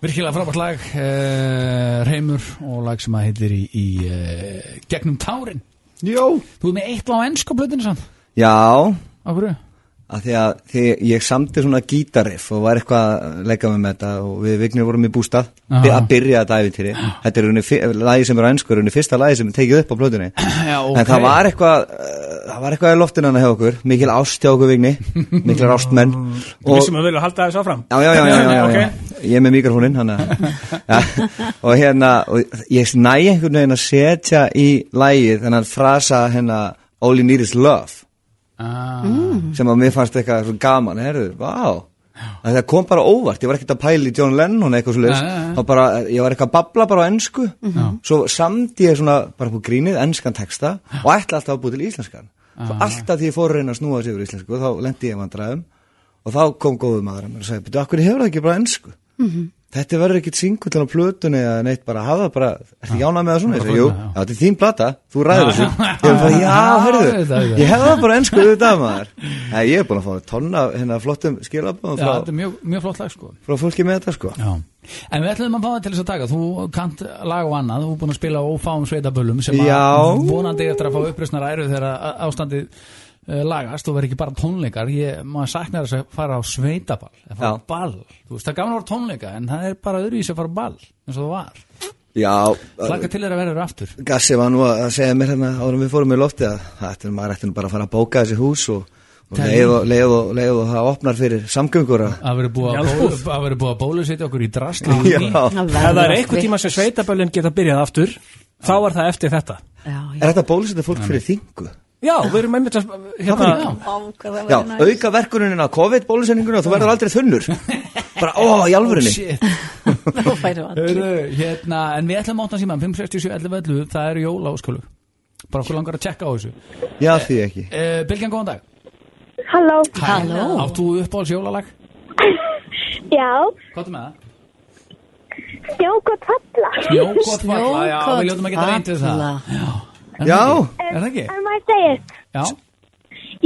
Virkilega frábært lag, uh, Reymur og lag sem að heitir í, í uh, Gegnum tárin. Jó Þú er með eitt lag á ennsku blöðinu sann, Já, á hverju? að því að því ég samti svona gítariff og var eitthvað að leggja mig með þetta og við vignir vorum í bústað Aha. Aha. að byrja þetta æfintýri þetta er unni, lagi sem er á ennsku, unni fyrsta lagi sem er tekið upp á plötunni Já, en það var eitthvað uh, það var eitthvað í loftinu hann hjá okkur mikil ást hjá okkur vigni, miklar ástmenn Þú vissum að við viljum halda þessu áfram Já, já, já, já, já, já, Ok. ég er með mikrofónin hana, ja, og hérna og ég næ einhvern veginn að setja í lægið þennan frasa hérna All you need is love Ah, sem að mér fannst eitthvað svo gaman herðu, vá að það kom bara óvart, ég var ekkert að pæla í John Lennon eitthvað svo Nei, nei, nei. leiðis bara, ég var eitthvað að babla bara á ennsku svo samt ég svona bara búið grínið ennskan texta og ætla alltaf að búið til íslenskan svo alltaf því ég fór að reyna að snúa sér yfir íslensku þá lendi ég í vandræðum og þá kom góðu maður að mér og sagði, betur, akkur hefur það ekki bara ennsku þetta verður ekkit singullin á plötunni eða neitt bara hafa það Ah. bara, ertu jánað með það svona? Ég segi, jú, plötuna, já. já, þetta er þín plata, þú ræður þessu ég var bara, já, Já, þetta, herðu, þetta. ég hef það bara ennsku auðvitað maður Nei, ég er búin að fá tonna hérna flottum skilabóðum já, þetta frá, er mjög, mjög flott lag sko. frá fólki með þetta sko Já. En við ætlum að fá það til þess að taka, þú kant lag og annað, þú er búin að spila á ófáum sveitaböllum sem Já. að vonandi eftir að fá uppreisnar æru þegar að- ástandið eh, lagast og verður ekki bara tónleikar ég, maður saknar þess að fara á sveitaball að fara á Já. ball, þú veist það er gaman að vera tónleika en það er bara öðruvísi að fara á ball eins og það var, Já, hlaka til þeirra að vera þér aftur Gassi var nú að segja mér hérna árum við fórum í lofti að þetta er maður ætti nú bara að fara að bóka þessi hús og, og Það er- leið og, leið og, leið og það opnar fyrir samgöngur að að vera búið að Já, sko. bólu- að vera búið að bólusetja okkur í drast Já, Það Ef það er verður einhver allt tíma sem sveitaböllin geta byrjað aftur þá var það eftir þetta við- Já, já. er þetta bólusetta fólk fyrir þingu? Já, við erum einmitt að hérna, Vá, hvað það Já, væri næs. auka verkunin að COVID bólusendingunum og þú verður aldrei þunnur bara, ó, í alvörinni Shit. Þá færum við allir. Hörru, hérna, en við ætlum að átna síma 567 11 11, það eru jól áskólu bara okkur langar að tjekka á þessu Já, því ekki uh, Bilgjan, góðan dag Halló, Halló. Áttu uppáhalds jólalag? já, Hvað er með það? snjókot falla. Snjókot falla, já, Snjókorn við ljótum að geta reynd til það falla. Er það Já. ekki? Er það ekki? En maður segir, Já,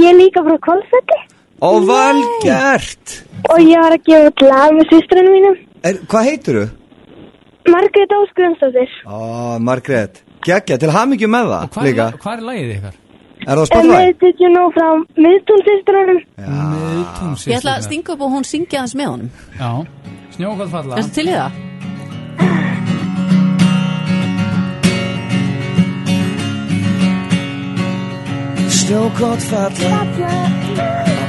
ég er líka frá Kolfetti Ó, vel gert og ég var að gefa út lag með sýstrinu mínum, er, Hvað heitir þú? Margrét Ásgrunnsdóttir. Ó, Margrét, geggja, til hamingju með það hvað líka, er, hvað er lagið ykkar? er það á En Spotify? við did you know frá miðtún sýstrunum. Miðtún Ég ætla að stinga upp og hún syngja hans með honum Já, snjókot falla Erstu til í það? Snjókot falla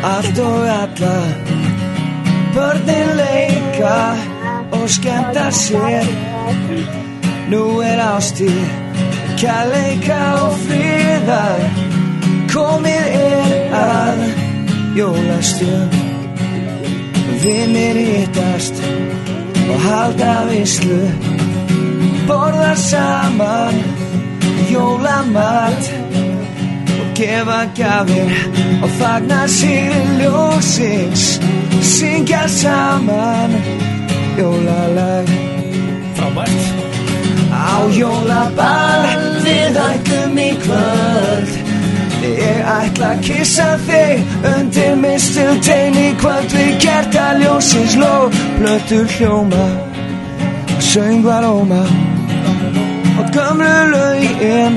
Allt og alla Börnin leika Og skemmta sér Nú er ástíð Kærleika og fríðar Komið er að Jólastund Vinnir hittast Og halda vislu Borða saman Jólamat og gefa gafir og fagna sér ljósins syngja saman jólalag Frábært á jólaball við ætlum í kvöld ég ætla að kissa þig undir mistiltein í kvöld við kerta ljósins lóð blöttur hljóma söngvar óma og gömlu lögin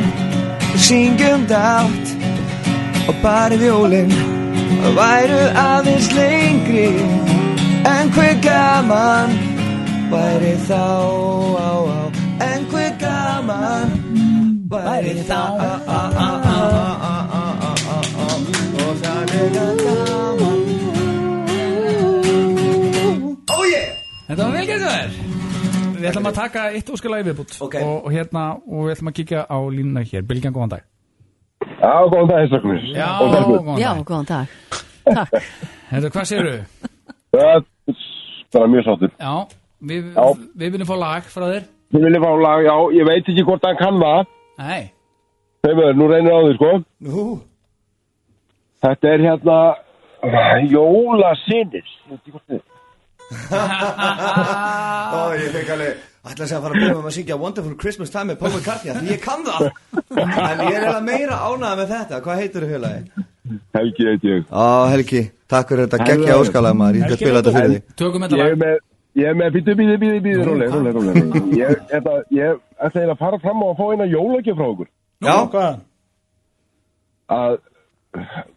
syngjum dátt og bara jólin væru aðeins lengri en hver gaman væri þá á, á, en hver gaman væri þá á, á, á, á, á, á, á, á, á. og það er gaman Oh yeah! Þetta var vel gert hjá þér Við ætlum að taka eitt óskalagi viðbútt Ok. og, og hérna, og við ætlum að kíkja á línuna hér Bilgjan, góðan dag Já, góðan dag, Hestaknir. Já, góðan Já, dag góðan dag Takk Hérna, hvað sérðu? Það er bara mjög sáttur. Já, við, Já. við viljum fá lag frá þér Þið viljum fá lag, já, ég veit ekki hvort hann kann það. Nei, Hefur, nú reynir á því, sko. Nú, Þetta er hérna Jólasinir. Ég veit ekki hvort þið- ó, ég fekk alveg ætla að segja að fara að byrja með að syngja Wonderful Christmas Time með Paul McCartney af því ég kann það en ég er eða meira ánað með þetta hvað heitir þú félagi? Helgi veit ég. Á Helgi, takk fyrir þetta geggja óskalag maður, ég skal spila þetta fyrir þig tökum Ég þetta er lag með, ég Ég er með býtu, býtu, býtu, býtu, róleg, róleg, róleg. Ég, þetta, ég ætla eiginlega að fara fram á að fá eina jólagjöf frá okkur. Nú, Já. hvað? Að,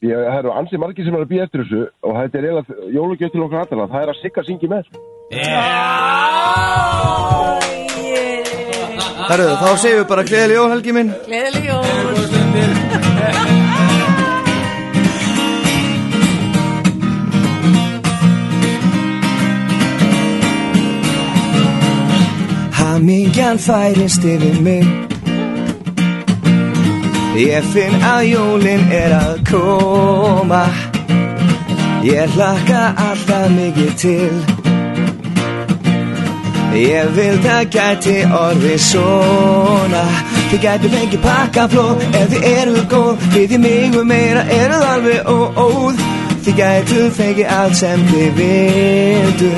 ég, það eru ansið margir sem eru að býja eftir þessu og þetta er eiginlega jólagjöf til okkur aðtala. Það er að sigga syngi með. Herru, þá segjum við bara gleðileg jól, Helgi minn. Gleðileg jól Hamingjan færist yfir mig Ég finn að jólin er að koma Ég hlakka alltaf mikið til Ég vil það gæti orði svona Þið gæti fengið pakkafló ef þið eru góð Við þið mig og meira eru alveg óóð Þið gætu fengið allt sem þið vildu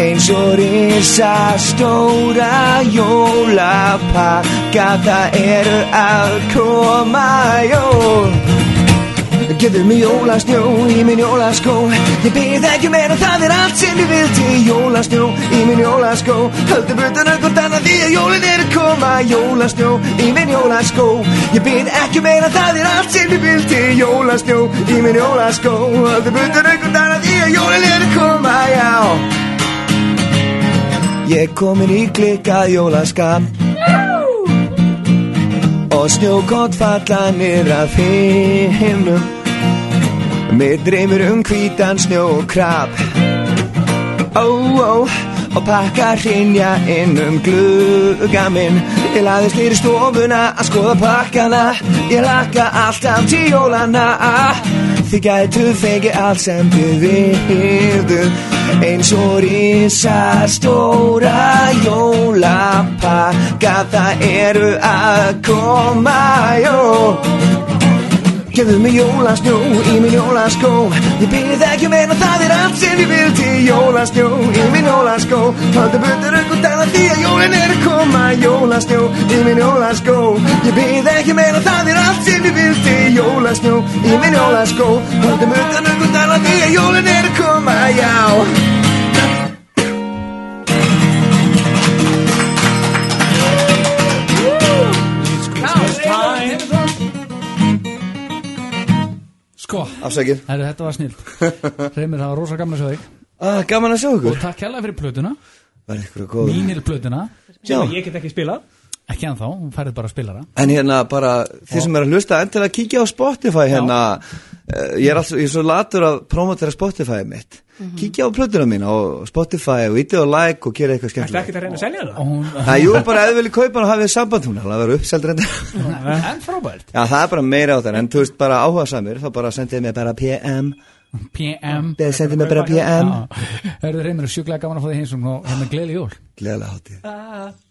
Eins og risa stóra jólapakka Það eru að koma jól Gefðu mér jólasnjó í minn jólaskó Ég byrð ekki meira, það er allt sem ég vildi Jólasnjó í minn jólaskó Höldu butan ökkort um annað því að jólin er að koma Jólasnjó í minn jólaskó Ég byrð ekki meira, það er allt sem ég vildi Jólasnjó í minn jólaskó Höldu butan ökkort um annað því að jólin er að koma Já Ég er komin í klikkað jólaskam og snjókott falla niður af himnum Mér dreymir um hvítan snjó og krab Ó, ó, og pakka hrinja inn um glugga minn Ég laðist niður í stofuna að skoða pakkana Ég lakka alltaf til jólana Þið gætu fengið allt sem þið vildu Eins og risa stóra jólapakka Það eru að koma jól Gefðu mig jólasnjó í minn jólaskó Ég byrði ekki meina það er allt sem ég vil til jólasnjó í minn jólaskó Haldur butur ökkur dana því að jólin er að koma Jólasnjó í minn jólaskó Ég byrði ekki meina það er allt sem ég vil til jólasnjó í minn jólaskó Haldur butur ökkur dana því að jólin er að koma Já Sko, Afsækið herru, þetta var snilt Reymir, það var rosa gamla sög ah, Gaman að sjá Og ykkur takk hérlega fyrir plötuna, Var ykkur að góða mínir plötuna Já Ég get ekki spilað Ekki ennþá, hún færið bara að spila það En hérna bara, þið sem er að hlusta endilega kíkja á Spotify hérna Eh, ég er, alls, ég er svo latur að promotera Spotify mitt kíkja á plötuna mín á Spotify og íti og like og gera eitthvað Þetta er skemmtilegt ekkert að reyna að selja Og það hún, Það jú, bara ef þið viljið kaupa hann og hafið samband hún, hann verður uppseld reyndar en frábært Já, það er bara meira á það, en þú veist bara áhuga samir þá bara sendið mér bara PM PM Þið sendið mér bara PM Herru, Reymir, sjúklega gaman að fá því heimsum og hérna gleðli jól Gleðilega hátíð